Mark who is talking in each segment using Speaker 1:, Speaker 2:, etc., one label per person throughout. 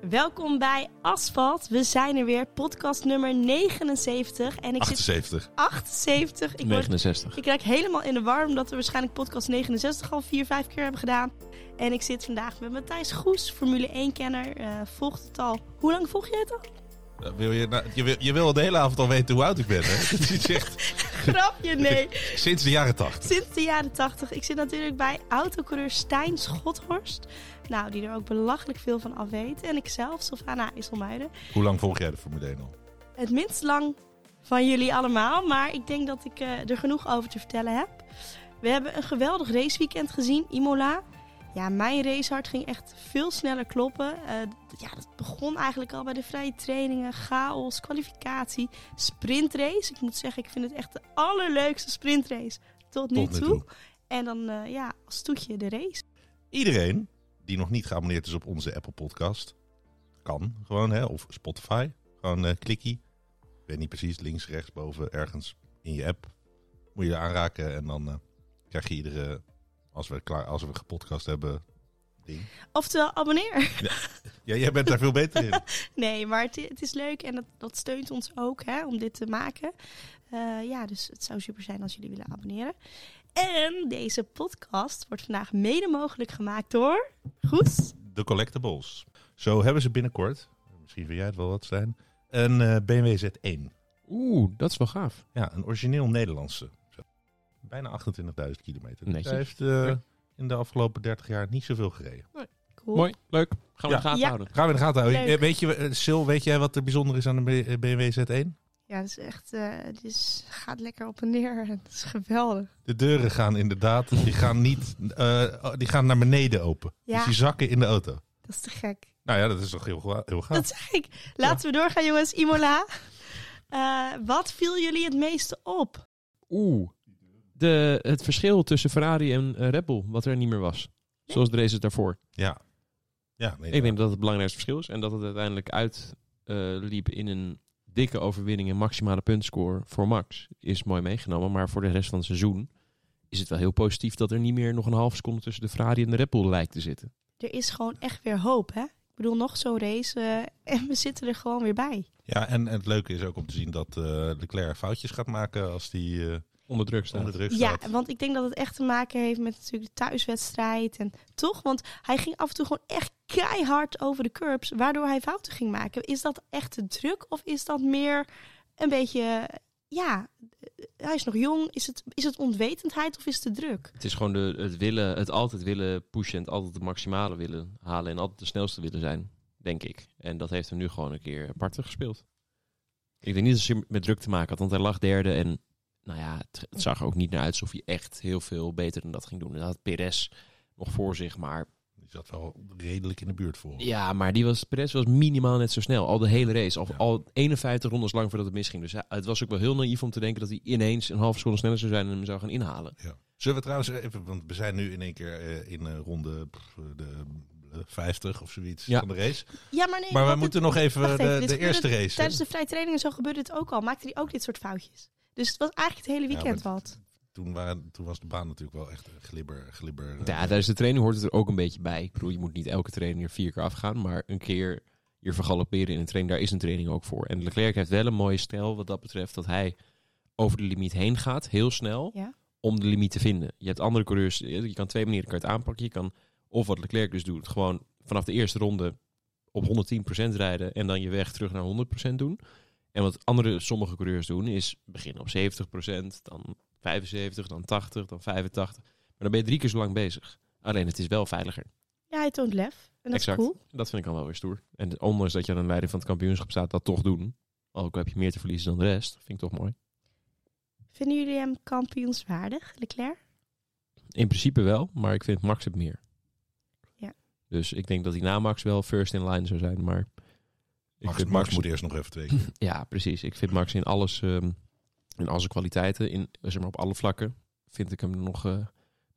Speaker 1: Welkom bij Asfalt. We zijn er weer, podcast nummer 79. En ik zit
Speaker 2: 78.
Speaker 1: 78. Ik, word,
Speaker 3: 69.
Speaker 1: ik raak helemaal in de war, omdat we waarschijnlijk podcast 69 al 4, 5 keer hebben gedaan. En ik zit vandaag met Matthijs Goes, Formule 1-kenner. volgt het al. Hoe lang volg je het al?
Speaker 2: Eh, Wil je, nou- je, wil, je wil de hele avond al weten hoe oud ik ben, hè? Dat is echt
Speaker 1: Grapje, nee.
Speaker 2: sinds de jaren 80.
Speaker 1: Sinds de jaren 80. Ik zit natuurlijk bij autocoureur Stijn Schothorst. Nou, die er ook belachelijk veel van af weet. En ikzelf, Sylvana IJsselmuiden.
Speaker 2: Hoe lang volg jij de Formule 1 al?
Speaker 1: het minst lang van jullie allemaal. Maar ik denk dat ik eh, er genoeg over te vertellen heb. We hebben een geweldig raceweekend gezien, Imola. Ja, mijn racehart ging echt veel sneller kloppen. Eh, d- ja, dat begon eigenlijk al bij de vrije trainingen, chaos, kwalificatie, sprintrace. Ik moet zeggen, ik vind het echt de allerleukste sprintrace tot nu
Speaker 2: Tot nu
Speaker 1: toe.
Speaker 2: toe.
Speaker 1: En dan, eh, ja, als toetje de race.
Speaker 2: Iedereen die nog niet geabonneerd is op onze Apple Podcast, kan gewoon, hè? Of Spotify. Gewoon eh klikkie. Ik weet niet precies, links, rechts, boven, ergens in je app. Moet je er aanraken en dan eh, krijg je iedere, als we, klaar, als we gepodcast hebben, ding.
Speaker 1: Oftewel, abonneer.
Speaker 2: Ja, jij bent daar veel beter in.
Speaker 1: Nee, maar het, het is leuk en dat, dat steunt ons ook hè, om dit te maken. Eh, ja, dus het zou super zijn als jullie willen abonneren. En deze podcast wordt vandaag mede mogelijk gemaakt door Goes.
Speaker 2: de collectibles. Zo hebben ze binnenkort, misschien wil jij het wel wat zijn, een eh, BMW Z1.
Speaker 3: Oeh, dat is wel gaaf.
Speaker 2: Ja, een origineel Nederlandse. Zo. Bijna 28.000 kilometer. Dus
Speaker 3: Netjes.
Speaker 2: hij heeft eh, in de afgelopen 30 jaar niet zoveel gereden.
Speaker 1: Cool.
Speaker 3: Mooi, leuk. Gaan
Speaker 2: Ja.
Speaker 3: we in de gaten
Speaker 1: Ja.
Speaker 3: houden.
Speaker 2: Gaan we in de gaten houden.
Speaker 1: Leuk.
Speaker 2: Eh, Weet je, eh, Sil, weet jij wat er bijzonder is aan de B- eh, BMW Z1?
Speaker 1: Ja, dat is echt, eh, het is, gaat lekker op en neer. Het is geweldig.
Speaker 2: De deuren gaan inderdaad, die gaan niet, eh, die gaan naar beneden open.
Speaker 1: Ja.
Speaker 2: Dus die zakken in de auto.
Speaker 1: Dat is te gek.
Speaker 2: Nou ja, dat is toch heel, gwa- heel gaaf.
Speaker 1: Dat zei ik. Laten we doorgaan jongens. Imola, Eh, wat viel jullie het meeste op?
Speaker 3: Oeh, de, het verschil tussen Ferrari en eh, Red Bull, wat er niet meer was. Zoals de races daarvoor.
Speaker 2: Ja. Ja, nee,
Speaker 3: Ik denk dat het het belangrijkste verschil is. En dat het uiteindelijk uitliep in een dikke overwinning en maximale puntscore voor Max. Is mooi meegenomen, maar voor de rest van het seizoen is het wel heel positief dat er niet meer nog een halve seconde tussen de Ferrari en de Red Bull lijkt te zitten.
Speaker 1: Er is gewoon echt weer hoop hè. Ik bedoel, nog zo'n race eh, en we zitten er gewoon weer bij.
Speaker 2: Ja, en, en het leuke is ook om te zien dat eh, Leclerc foutjes gaat maken als die eh,
Speaker 3: Onder druk
Speaker 2: onder druk
Speaker 1: Ja,
Speaker 2: staat.
Speaker 1: want ik denk dat het echt te maken heeft met natuurlijk de thuiswedstrijd en toch, want hij ging af en toe gewoon echt keihard over de curbs, waardoor hij fouten ging maken. Is dat echt te druk of is dat meer een beetje, ja, hij is nog jong, is het, is het onwetendheid of is het te druk?
Speaker 3: Het is gewoon de, het willen, het altijd willen pushen en het altijd het maximale willen halen en altijd de snelste willen zijn, denk ik. En dat heeft hem nu gewoon een keer parten gespeeld. Ik denk niet dat ze met druk te maken had, want hij lag derde en nou ja, het, het zag er ook niet naar uit alsof hij echt heel veel beter dan dat ging doen. Dat had Perez nog voor zich, maar
Speaker 2: Die zat wel redelijk in de buurt voor.
Speaker 3: ja, maar die was, Perez was minimaal net zo snel, al de hele race, al,
Speaker 2: Ja.
Speaker 3: al 51 rondes lang voordat het misging. Dus hij- het was ook wel heel naïef om te denken dat hij ineens een half seconde sneller zou zijn en hem zou gaan inhalen.
Speaker 2: Ja. Zullen we trouwens even, want we zijn nu in één keer eh, in eh, ronde pff, de eh, 50 of zoiets
Speaker 3: Ja.
Speaker 2: van de race.
Speaker 1: Ja, maar nee.
Speaker 2: Maar we
Speaker 1: want
Speaker 2: moeten
Speaker 1: het-
Speaker 2: nog even,
Speaker 1: wacht
Speaker 2: de,
Speaker 1: dit
Speaker 2: de
Speaker 1: gebeurde
Speaker 2: eerste race.
Speaker 1: Tijdens
Speaker 2: hè?
Speaker 1: de vrije training en zo gebeurde het ook al, maakte hij ook dit soort foutjes. Dus het was eigenlijk het hele
Speaker 2: Ja,
Speaker 1: weekend
Speaker 2: maar-
Speaker 1: wat.
Speaker 2: Toen, waren, toen was de baan natuurlijk wel echt eh, glibber. glibber eh,
Speaker 3: Ja, tijdens de training hoort het er ook een beetje bij. Ik bedoel, je moet niet elke training er vier keer afgaan, maar een keer je vergalopperen in een training, daar is een training ook voor. En Leclerc heeft wel een mooie stijl wat dat betreft, dat hij over de limiet heen gaat, heel snel,
Speaker 1: Ja.
Speaker 3: om de limiet te vinden. Je hebt andere coureurs, je kan twee manieren kan je het aanpakken. Je kan, of wat Leclerc dus doet, gewoon vanaf de eerste ronde op 110% rijden en dan je weg terug naar 100% doen. En wat andere sommige coureurs doen, is beginnen op 70%, dan 75, dan 80, dan 85. Maar dan ben je drie keer zo lang bezig. Alleen het is wel veiliger.
Speaker 1: Ja, hij toont lef. En dat
Speaker 3: Exact.
Speaker 1: is cool.
Speaker 3: Dat vind ik al wel weer stoer. En ondanks dat je aan de leiding van het kampioenschap staat, dat toch doen. Ook al heb je meer te verliezen dan de rest. Vind ik toch mooi.
Speaker 1: Vinden jullie hem kampioenswaardig, Leclerc?
Speaker 3: In principe wel, maar ik vind Max het meer.
Speaker 1: Ja.
Speaker 3: Dus ik denk dat hij na Max wel first in line zou zijn, maar... ik
Speaker 2: Max,
Speaker 3: vind
Speaker 2: Max moet eerst nog even twee keer.
Speaker 3: Ja, precies. Ik vind Max in alles, ehm, in al zijn kwaliteiten, in, zeg maar op alle vlakken, vind ik hem nog eh,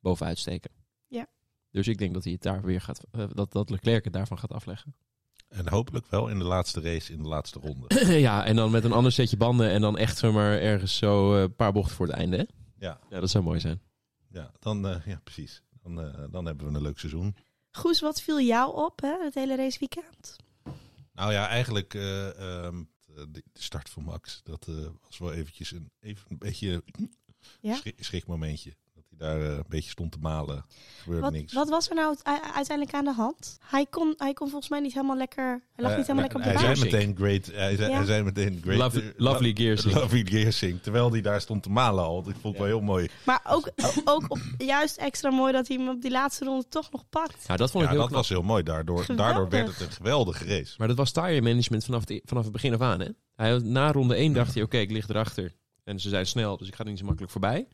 Speaker 3: bovenuit steken.
Speaker 1: Ja.
Speaker 3: Dus ik denk dat hij het daar weer gaat, eh, dat, dat Leclerc het daarvan gaat afleggen.
Speaker 2: en hopelijk wel in de laatste race, in de laatste ronde.
Speaker 3: ja, en dan met een ander setje banden en dan echt zomaar ergens zo eh, een paar bochten voor het einde. Hè?
Speaker 2: Ja,
Speaker 3: Ja, dat zou mooi zijn.
Speaker 2: ja, dan, eh, ja precies. Dan, eh, dan hebben we een leuk seizoen.
Speaker 1: Goes, wat viel jou op, hè, het hele raceweekend?
Speaker 2: Nou ja, eigenlijk eh, ehm, de de start van Max, dat eh, was wel eventjes een, even een beetje
Speaker 1: Ja?
Speaker 2: schri- schrikmomentje. Dat hij daar eh, een beetje stond te malen, gebeurde
Speaker 1: Wat,
Speaker 2: niks.
Speaker 1: wat was er nou u- uiteindelijk aan de hand? Hij kon, hij kon volgens mij niet helemaal lekker. Hij lag niet
Speaker 2: Eh,
Speaker 1: helemaal lekker op de
Speaker 2: hij
Speaker 1: baan.
Speaker 2: zei meteen great, eh, hij zei,
Speaker 1: Ja.
Speaker 2: hij zei meteen great.
Speaker 3: Lovely-
Speaker 2: eh,
Speaker 3: lovely
Speaker 2: lo-
Speaker 3: Geersink.
Speaker 2: Lovely Geersink, terwijl hij daar stond te malen al. Dat vond ik wel heel mooi.
Speaker 1: Maar ook, ook op, juist extra mooi dat hij hem op die laatste ronde toch nog pakt.
Speaker 3: Ja, dat vond ik
Speaker 2: Ja,
Speaker 3: heel
Speaker 2: dat
Speaker 3: knap.
Speaker 2: was heel mooi. Daardoor,
Speaker 1: Geweldig.
Speaker 2: daardoor werd het een geweldige race.
Speaker 3: Maar dat was tire management vanaf het, e- vanaf het begin af aan. Hè? Hij, had- na ronde 1 dacht hij, oké, ik lig erachter. En ze zijn snel, dus ik ga er niet zo makkelijk voorbij.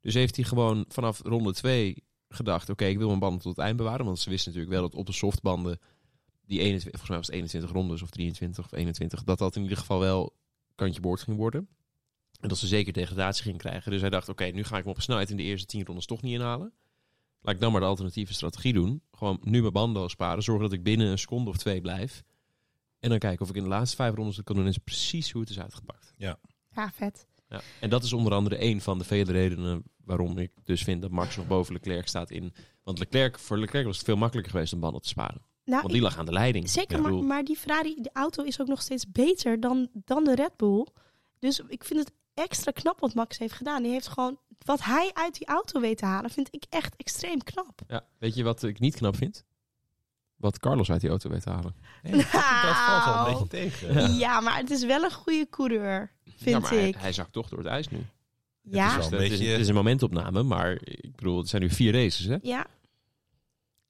Speaker 3: Dus heeft hij gewoon vanaf ronde 2 gedacht, oké, ik wil mijn banden tot het eind bewaren. Want ze wisten natuurlijk wel dat op de softbanden, die 21, volgens mij was het 21 rondes of 23 of 21, dat dat in ieder geval wel kantje boord ging worden. En dat ze zeker degradatie ging krijgen. Dus hij dacht, oké, nu ga ik me op snelheid in de eerste 10 rondes toch niet inhalen. Laat ik dan maar de alternatieve strategie doen. Gewoon nu mijn banden al sparen. Zorgen dat ik binnen een seconde of twee blijf. En dan kijken of ik in de laatste vijf rondes dat kan doen. En dat is precies hoe het is uitgepakt.
Speaker 1: Ja, vet.
Speaker 3: Ja. En dat is onder andere één van de vele redenen waarom ik dus vind dat Max nog boven Leclerc staat in. Want Leclerc, voor Leclerc was het veel makkelijker geweest om banden te sparen.
Speaker 1: Nou,
Speaker 3: Want die lag aan de leiding.
Speaker 1: Zeker,
Speaker 3: Ik
Speaker 1: maar,
Speaker 3: bedoel,
Speaker 1: maar die Ferrari, de auto is ook nog steeds beter dan, dan de Red Bull. Dus ik vind het extra knap wat Max heeft gedaan. Die heeft gewoon, wat hij uit die auto weet te halen, vind ik echt extreem knap.
Speaker 3: ja, weet je wat ik niet knap vind? Wat Carlos uit die auto weet te halen.
Speaker 2: Dat valt wel een
Speaker 1: Nou,
Speaker 2: beetje tegen.
Speaker 1: ja, maar het is wel een goede coureur,
Speaker 3: ja,
Speaker 1: vind
Speaker 3: maar hij-
Speaker 1: ik.
Speaker 3: Hij, zakt toch door het ijs nu.
Speaker 1: ja,
Speaker 2: wel-
Speaker 3: Dus
Speaker 2: een
Speaker 3: dat is-
Speaker 2: beetje-
Speaker 3: het is een momentopname, maar ik bedoel, het zijn nu vier races hè?
Speaker 1: ja.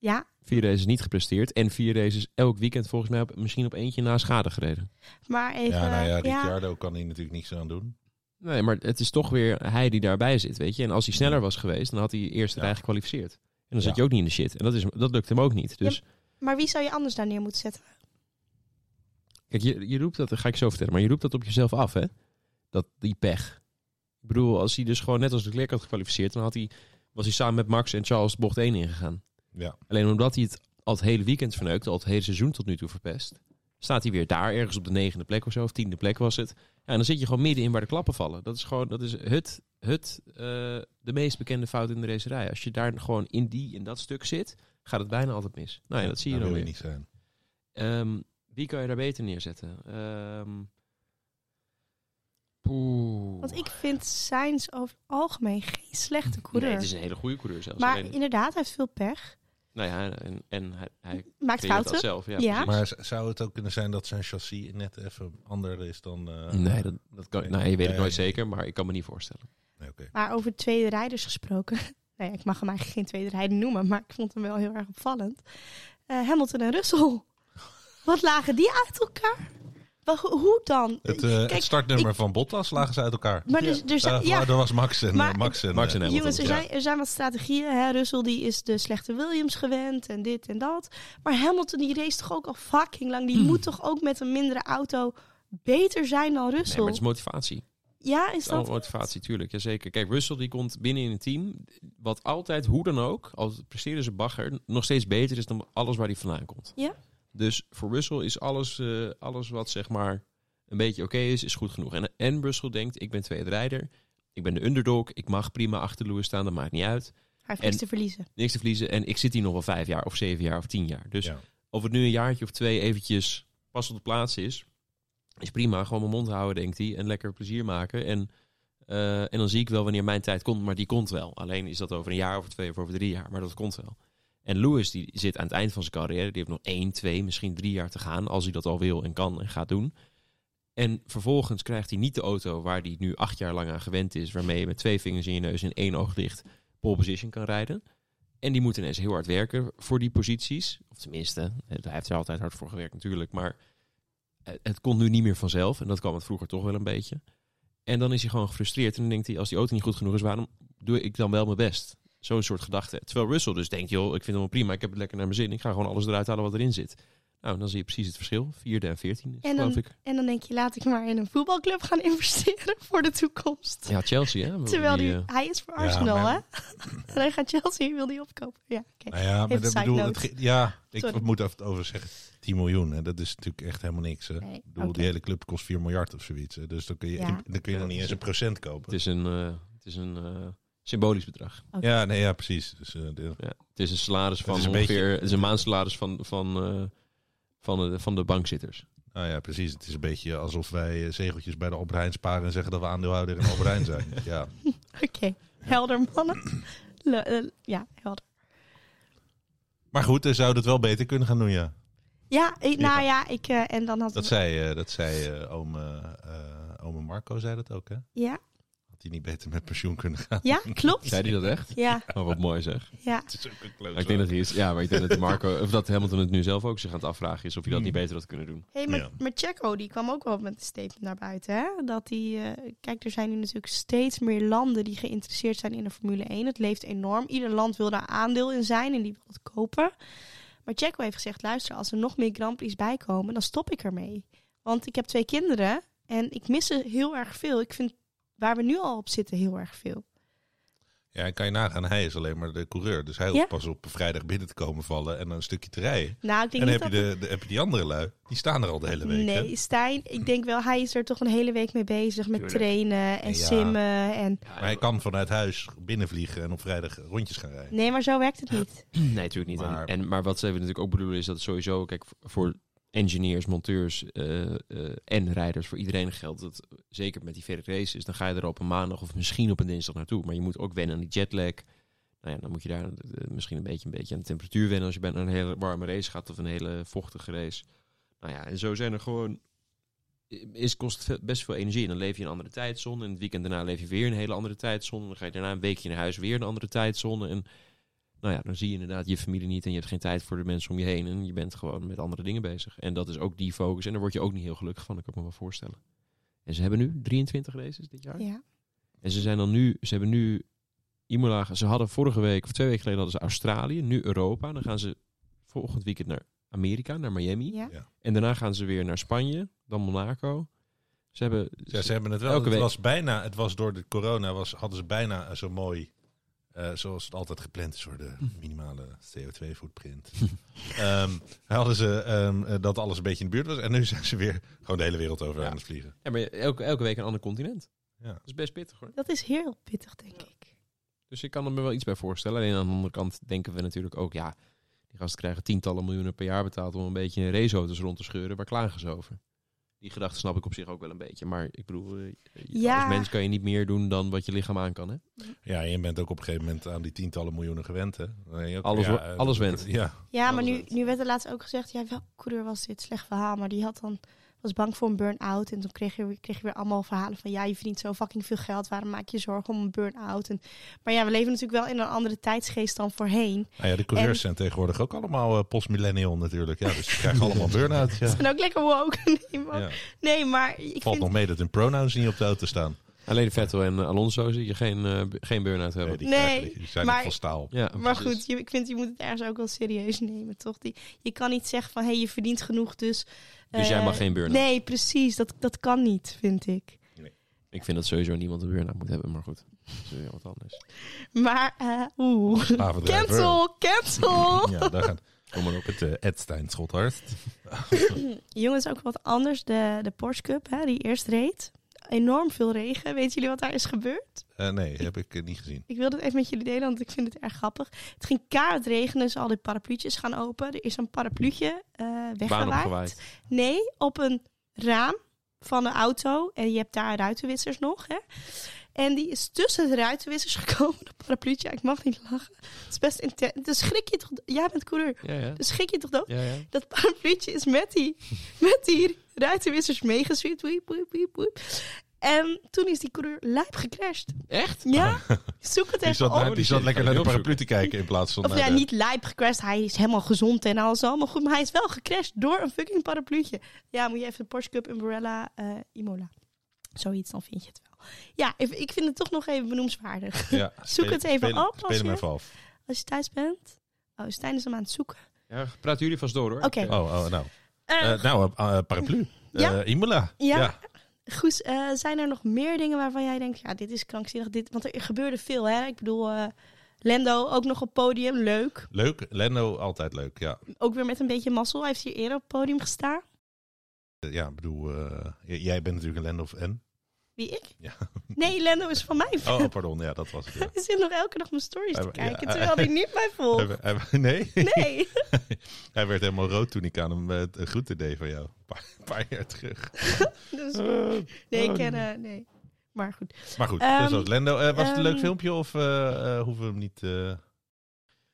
Speaker 1: Ja,
Speaker 3: Vier races niet gepresteerd en vier races elk weekend volgens mij op, misschien op eentje na schade gereden.
Speaker 1: maar even...
Speaker 2: Ja, nou
Speaker 1: ja.
Speaker 2: ja, Ricciardo kan hier natuurlijk niks aan doen.
Speaker 3: Nee, maar het is toch weer hij die daarbij zit, weet je. En als hij sneller was geweest, dan had hij eerst
Speaker 2: Ja.
Speaker 3: rij gekwalificeerd. En dan
Speaker 2: Ja.
Speaker 3: zat je ook niet in de shit. En dat, is, dat lukt hem ook niet. Dus
Speaker 1: Maar wie zou je anders daar neer moeten zetten?
Speaker 3: kijk, je, je roept dat, dat ga ik zo vertellen, maar je roept dat op jezelf af, hè. Dat, die pech. Ik bedoel, als hij dus gewoon net als de Leclerc had gekwalificeerd, dan had hij, was hij samen met Max en Charles bocht 1 ingegaan.
Speaker 2: Ja.
Speaker 3: Alleen omdat hij het al het hele weekend verneukt, al het hele seizoen tot nu toe verpest, staat hij weer daar ergens op de negende plek of zo, of tiende plek was het. Ja, en dan zit je gewoon midden in waar de klappen vallen. Dat is gewoon, dat is het, het eh, de meest bekende fout in de racerij. Als je daar gewoon in die, in dat stuk zit, gaat het bijna altijd mis. Nou ja, dat zie je
Speaker 2: Daar
Speaker 3: dan
Speaker 2: wil
Speaker 3: weer.
Speaker 2: je niet zijn.
Speaker 3: Ehm, wie kan je daar beter neerzetten? Ehm, poeh.
Speaker 1: Want ik vind Sainz over het algemeen geen slechte coureur.
Speaker 3: Nee, het is een hele goede coureur zelfs.
Speaker 1: maar
Speaker 3: Alleen-
Speaker 1: inderdaad, hij heeft veel pech.
Speaker 3: nou ja, en, en hij, hij
Speaker 1: Maakt
Speaker 3: creëert dat
Speaker 1: fouten.
Speaker 3: zelf. Ja,
Speaker 1: Ja.
Speaker 3: precies.
Speaker 2: Maar z- zou het ook kunnen zijn dat zijn chassis net even ander is dan... eh,
Speaker 3: nee, dat, dat kan,
Speaker 2: Nee.
Speaker 3: nou, je weet het
Speaker 2: Nee.
Speaker 3: nooit zeker, maar ik kan me niet voorstellen.
Speaker 2: nee, oké.
Speaker 1: Maar over tweede rijders gesproken. Nee, ik mag hem eigenlijk geen tweede rijder noemen, maar ik vond hem wel heel erg opvallend. Eh, Hamilton en Russell. Wat lagen die uit elkaar? Wel, ho- hoe dan?
Speaker 2: Het, eh, het Eh, startnummer van Bottas lagen ze uit elkaar.
Speaker 1: Maar dus, er zijn,
Speaker 2: Daar
Speaker 1: ja,
Speaker 2: daar was Max en,
Speaker 1: Maar-
Speaker 2: eh, Max en, eh,
Speaker 3: Max en Hamilton.
Speaker 1: jongens, er
Speaker 2: ja.
Speaker 1: zijn, er zijn wat strategieën. Hè? Russell die is de slechte Williams gewend en dit en dat. Maar Hamilton die race toch ook al fucking lang.
Speaker 2: Hmm.
Speaker 1: Die moet toch ook met een mindere auto beter zijn dan
Speaker 3: Nee,
Speaker 1: Russell?
Speaker 3: maar het is motivatie.
Speaker 1: ja, is
Speaker 3: Het is allemaal
Speaker 1: dat?
Speaker 3: Oh, motivatie, tuurlijk. Jazeker. Kijk, Russell die komt binnen in een team. Wat altijd, hoe dan ook, al presteren ze bagger, nog steeds beter is dan alles waar hij vandaan komt.
Speaker 1: Ja.
Speaker 3: Dus voor Russell is alles, eh, alles wat zeg maar een beetje oké is, is goed genoeg. En, en Russell denkt, ik ben tweede rijder. Ik ben de underdog. Ik mag prima achter Lewis staan. Dat maakt niet uit.
Speaker 1: Hij heeft niks
Speaker 3: en-
Speaker 1: te verliezen.
Speaker 3: Niks te verliezen. En ik zit hier nog wel vijf jaar of zeven jaar of tien jaar. Dus
Speaker 2: Ja.
Speaker 3: of het nu een jaartje of twee eventjes pas op de plaats is, is prima. Gewoon mijn mond houden, denkt hij. En lekker plezier maken. En, eh, en dan zie ik wel wanneer mijn tijd komt, maar die komt wel. Alleen is dat over een jaar, over twee of over drie jaar, maar dat komt wel. En Lewis die zit aan het eind van zijn carrière. Die heeft nog één, twee, misschien drie jaar te gaan. Als hij dat al wil en kan en gaat doen. En vervolgens krijgt hij niet de auto waar hij nu acht jaar lang aan gewend is. Waarmee je met twee vingers in je neus en één oog dicht pole position kan rijden. En die moet ineens heel hard werken voor die posities. Of tenminste, eh, hij heeft er altijd hard voor gewerkt natuurlijk. Maar eh, het komt nu niet meer vanzelf. En dat kwam het vroeger toch wel een beetje. En dan is hij gewoon gefrustreerd. En dan denkt hij, als die auto niet goed genoeg is, waarom doe ik dan wel mijn best? Zo'n soort gedachte. Terwijl Russell dus denkt, joh, ik vind hem wel prima. Ik heb het lekker naar mijn zin. Ik ga gewoon alles eruit halen wat erin zit. Nou, dan zie je precies het verschil. Vierde en veertiende,
Speaker 1: En dan-
Speaker 3: geloof ik.
Speaker 1: En dan denk je, laat ik maar in een voetbalclub gaan investeren voor de toekomst.
Speaker 3: Ja, Chelsea, hè?
Speaker 1: Terwijl
Speaker 3: Die,
Speaker 1: die,
Speaker 3: eh,
Speaker 1: hij is voor
Speaker 2: Ja,
Speaker 1: Arsenal,
Speaker 2: maar-
Speaker 1: hè? en hij gaat Chelsea, wil die opkopen. Ja, oké.
Speaker 2: Nou ja, maar
Speaker 1: Even
Speaker 2: dat
Speaker 1: side
Speaker 2: bedoel,
Speaker 1: note.
Speaker 2: het, ge- ja, ik
Speaker 1: Sorry.
Speaker 2: moet even over zeggen. 10 miljoen, hè, dat is natuurlijk echt helemaal niks. Hè.
Speaker 1: Nee,
Speaker 2: Ik bedoel,
Speaker 1: oké.
Speaker 2: Die hele club kost 4 miljard of zoiets. Hè. Dus dan kun je,
Speaker 1: Ja.
Speaker 2: dan kun je
Speaker 3: Ja,
Speaker 2: nog niet
Speaker 3: dat
Speaker 2: eens
Speaker 3: is-
Speaker 2: een procent kopen.
Speaker 3: het is een, eh, het is een eh, symbolisch bedrag.
Speaker 2: Ja, nee, ja, precies. Dus, eh, de-
Speaker 3: Ja, het is een salaris van
Speaker 2: is een
Speaker 3: ongeveer...
Speaker 2: beetje-
Speaker 3: Het is een maandsalaris van, van eh, van de, van de bankzitters.
Speaker 2: Nou ja, precies. Het is een beetje alsof wij eh, zegeltjes bij de Albert Heijn sparen en zeggen dat we aandeelhouder in Albert Heijn zijn. Ja,
Speaker 1: Oké, helder mannen. Le- eh, ja, helder.
Speaker 2: Maar goed, hij zou dat wel beter kunnen gaan doen, ja.
Speaker 1: Ja, ik- nou
Speaker 2: Ja.
Speaker 1: ja, ik, eh, en dan had
Speaker 2: Dat zei, eh, dat zei eh, oom, eh, eh, oom Marco, zei dat ook, hè?
Speaker 1: Ja,
Speaker 2: Had hij niet beter met pensioen kunnen gaan?
Speaker 1: ja klopt.
Speaker 3: Zei hij dat echt?
Speaker 1: Ja,
Speaker 3: Oh, wat mooi zeg.
Speaker 1: ja.
Speaker 2: Het is ook een
Speaker 3: Maar ik denk dat hij is. Ja, maar ik denk dat Marco, of dat Hamilton het nu zelf ook zich aan het afvragen is of hij dat niet beter had kunnen doen.
Speaker 1: Hey, maar,
Speaker 2: Ja.
Speaker 1: maar Checo die kwam ook wel met een statement naar buiten. Hè? Dat die, eh, kijk, er zijn nu natuurlijk steeds meer landen die geïnteresseerd zijn in de Formule 1. Het leeft enorm. Ieder land wil daar aandeel in zijn en die wil het kopen. Maar Checo heeft gezegd, luister, als er nog meer Grand Prix bijkomen, dan stop ik ermee. Want ik heb twee kinderen en ik mis ze heel erg veel. Ik vind waar we nu al op zitten heel erg veel.
Speaker 2: Ja, en kan je nagaan, hij is alleen maar de coureur. Dus hij
Speaker 1: Ja.
Speaker 2: hoeft pas op vrijdag binnen te komen vallen en een stukje te rijden.
Speaker 1: Nou, ik
Speaker 2: En
Speaker 1: denk
Speaker 2: dan
Speaker 1: niet
Speaker 2: heb je,
Speaker 1: dat...
Speaker 2: de, de, heb je die andere lui, die staan er al de hele week. hè?
Speaker 1: nee, Stijn, ik denk wel, hij is er toch een hele week mee bezig met
Speaker 3: Tuurlijk.
Speaker 1: trainen en
Speaker 2: Ja.
Speaker 1: simmen en...
Speaker 2: Maar hij kan vanuit huis binnenvliegen en op vrijdag rondjes gaan rijden.
Speaker 1: Nee, maar zo werkt het niet.
Speaker 3: Nee, natuurlijk niet.
Speaker 2: Maar-
Speaker 3: En, en- maar wat ze natuurlijk ook bedoelen is dat het sowieso, kijk, v- voor engineers, monteurs eh, eh, en rijders, voor iedereen geldt dat zeker met die verre races, dan ga je er op een maandag of misschien op een dinsdag naartoe. Maar je moet ook wennen aan die jetlag. Nou ja, dan moet je daar eh, misschien een beetje, een beetje aan de temperatuur wennen als je bij een hele warme race gaat of een hele vochtige race. Nou ja, en zo zijn er gewoon. Is, kost ve- best veel energie. En dan leef je in een andere tijdzone. En het weekend daarna leef je weer in een hele andere tijdzone. Dan ga je daarna een weekje naar huis weer een andere tijdzone. En nou ja, dan zie je inderdaad je familie niet en je hebt geen tijd voor de mensen om je heen. En je bent gewoon met andere dingen bezig. En dat is ook die focus. En daar word je ook niet heel gelukkig van, dat kan ik me wel voorstellen. En ze hebben nu 23 races dit jaar.
Speaker 1: Ja.
Speaker 3: En ze zijn dan nu, ze hebben nu Imola, ze hadden vorige week of twee weken geleden hadden ze Australië, nu Europa. Dan gaan ze volgend weekend naar Amerika, naar Miami.
Speaker 1: Ja.
Speaker 2: Ja.
Speaker 3: En daarna gaan ze weer naar Spanje, dan Monaco. Ze hebben,
Speaker 2: Ja, ze hebben het wel.
Speaker 3: Elke
Speaker 2: het
Speaker 3: week.
Speaker 2: was bijna, het was door de corona, was, hadden ze bijna zo mooi. eh, zoals het altijd gepland is voor de minimale CO2-footprint. Ehm, hadden ze ehm, eh, dat alles een beetje in de buurt was. En nu zijn ze weer gewoon de hele wereld over
Speaker 3: Ja.
Speaker 2: aan het vliegen.
Speaker 3: ja, maar elke, elke week een ander continent.
Speaker 2: Ja.
Speaker 3: Dat is best pittig hoor.
Speaker 1: Dat is heel pittig, denk ik.
Speaker 3: Dus ik kan er me wel iets bij voorstellen. Alleen aan de andere kant denken we natuurlijk ook, ja, die gasten krijgen tientallen miljoenen per jaar betaald om een beetje in raceauto's rond te scheuren. Waar klagen ze over? Die gedachte snap ik op zich ook wel een beetje. Maar ik bedoel, eh,
Speaker 1: Ja.
Speaker 3: als mens kan je niet meer doen dan wat je lichaam aan kan. Hè?
Speaker 2: Ja, en je bent ook op een gegeven moment aan die tientallen miljoenen gewend. Hè? Dan ben je ook-
Speaker 3: Alles
Speaker 2: ja,
Speaker 3: wo-
Speaker 2: eh,
Speaker 3: alles went.
Speaker 2: Ja,
Speaker 1: Ja, maar
Speaker 3: Alles
Speaker 1: nu,
Speaker 3: uit.
Speaker 1: nu werd er laatst ook gezegd, ja, welke coureur was dit? Slecht verhaal, maar die had dan, was bang voor een burn-out. En toen kreeg je, weer- kreeg je weer allemaal verhalen van, ja, je verdient zo fucking veel geld. Waarom maak je je zorgen om een burn-out? En, maar ja, we leven natuurlijk wel in een andere tijdsgeest dan voorheen.
Speaker 2: Nou ja, de coureurs
Speaker 1: En-
Speaker 2: zijn tegenwoordig ook allemaal eh, postmillennial natuurlijk. Ja, dus die krijgen allemaal burn-out. Ja.
Speaker 1: En ook lekker woke. Nee, maar,
Speaker 2: Ja.
Speaker 1: nee, maar ik
Speaker 2: Valt
Speaker 1: vind...
Speaker 2: nog mee dat hun pronouns niet op de auto staan.
Speaker 3: Alleen Vettel en eh, Alonso zie je geen, eh, b- geen burn-out hebben.
Speaker 2: die,
Speaker 1: Nee,
Speaker 2: krijgen- die zijn
Speaker 1: maar-
Speaker 2: nog van staal.
Speaker 3: Ja,
Speaker 1: Maar
Speaker 3: precies.
Speaker 1: goed, je, ik vind je moet het ergens ook wel serieus nemen, toch? Die, je kan niet zeggen van, hé, hey, je verdient genoeg, dus...
Speaker 3: Dus jij
Speaker 1: eh,
Speaker 3: mag geen burn-out.
Speaker 1: Nee, precies. Dat, dat kan niet, vind ik.
Speaker 3: Ik vind dat sowieso niemand een burn-out moet hebben. Maar goed, dat is weer wat anders.
Speaker 1: Maar, eh oeh.
Speaker 2: Slavendrijver.
Speaker 1: Cancel, cancel.
Speaker 2: Ja, daar gaat. Kom maar op het eh, Ed Stijn Schothart.
Speaker 1: Jongens, ook wat anders. De, de Porsche Cup, hè, die eerst reed. Enorm veel regen. Weten jullie wat daar is gebeurd?
Speaker 2: Eh, nee, heb ik eh, niet gezien.
Speaker 1: Ik wilde het even met jullie delen, want ik vind het erg grappig. Het ging kaart regenen, dus al die parapluutjes gaan open. Er is een parapluutje eh
Speaker 3: Baan
Speaker 1: weggewaaid.
Speaker 3: opgewaaid.
Speaker 1: Nee, op een raam van een auto. En je hebt daar ruitenwissers nog, hè. En die is tussen de ruitenwissers gekomen. Dat parapluutje, ik mag niet lachen. Het is best intens. Dan schrik je toch... Jij bent coureur.
Speaker 3: Ja, ja.
Speaker 1: Dan schrik je toch dood?
Speaker 3: ja, ja.
Speaker 1: dat parapluutje is met die, met die ruitenwissers meegesweept. Wiep, wiep, wiep, wiep. En toen is die coureur lijp gecrashed.
Speaker 3: Echt?
Speaker 1: Ja, zoek het
Speaker 2: Die
Speaker 1: even
Speaker 2: zat,
Speaker 1: op.
Speaker 2: naar- die zat lekker naar de paraplu te kijken in plaats van
Speaker 1: Of
Speaker 2: naar
Speaker 1: ja,
Speaker 2: de-
Speaker 1: niet lijp gecrashed. Hij is helemaal gezond en alles allemaal goed. Maar hij is wel gecrashed door een fucking parapluutje. Ja, moet je even de Porsche Cup Umbrella eh, Imola. Zoiets, dan vind je het wel. Ja, ik- ik vind het toch nog even benoemswaardig.
Speaker 2: Ja, spelen-
Speaker 1: het even
Speaker 2: spelen-
Speaker 1: op als
Speaker 2: Spelen
Speaker 1: je-
Speaker 2: hem even af.
Speaker 1: Als je thuis bent. Oh, Stijn is hem aan het zoeken.
Speaker 3: Ja, praten jullie vast door hoor.
Speaker 1: Oké.
Speaker 3: Ik, eh,
Speaker 2: Oh, oh nou.
Speaker 1: Eh,
Speaker 2: Eh, nou, eh, eh, paraplu.
Speaker 1: Ja?
Speaker 2: Eh, Imola.
Speaker 1: Ja. Goed, eh, zijn er nog meer dingen waarvan jij denkt, ja, dit is krankzinnig. Dit, want er gebeurde veel, hè? Ik bedoel, eh, Lendo ook nog op podium, leuk.
Speaker 2: Leuk. Lendo, altijd leuk. Ja,
Speaker 1: Ook weer met een beetje mazzel. Hij heeft hier eerder op podium gestaan.
Speaker 2: Eh, ja ik bedoel, eh, j- jij bent natuurlijk een Lendo-fan.
Speaker 1: Wie ik?
Speaker 2: Ja.
Speaker 1: Nee, Lando is van mij.
Speaker 2: Oh, oh, pardon. Ja, dat was het. ja.
Speaker 1: Hij zit nog elke dag mijn stories
Speaker 2: Hij-
Speaker 1: te
Speaker 2: ja,
Speaker 1: kijken,
Speaker 2: hij-
Speaker 1: terwijl hij niet mij
Speaker 2: Hij
Speaker 1: volgt.
Speaker 2: we- hij we- nee,
Speaker 1: Oh. Nee.
Speaker 2: hij werd helemaal rood toen ik aan hem eh, een groeten deed van jou. Een paar, een paar jaar terug.
Speaker 1: Dus, nee, ik ken... eh, nee. Maar goed.
Speaker 2: Maar goed,
Speaker 1: Ehm,
Speaker 2: dus dat was Lendo. Eh, was het een leuk
Speaker 1: ehm,
Speaker 2: filmpje of eh, eh, hoeven we hem niet... eh,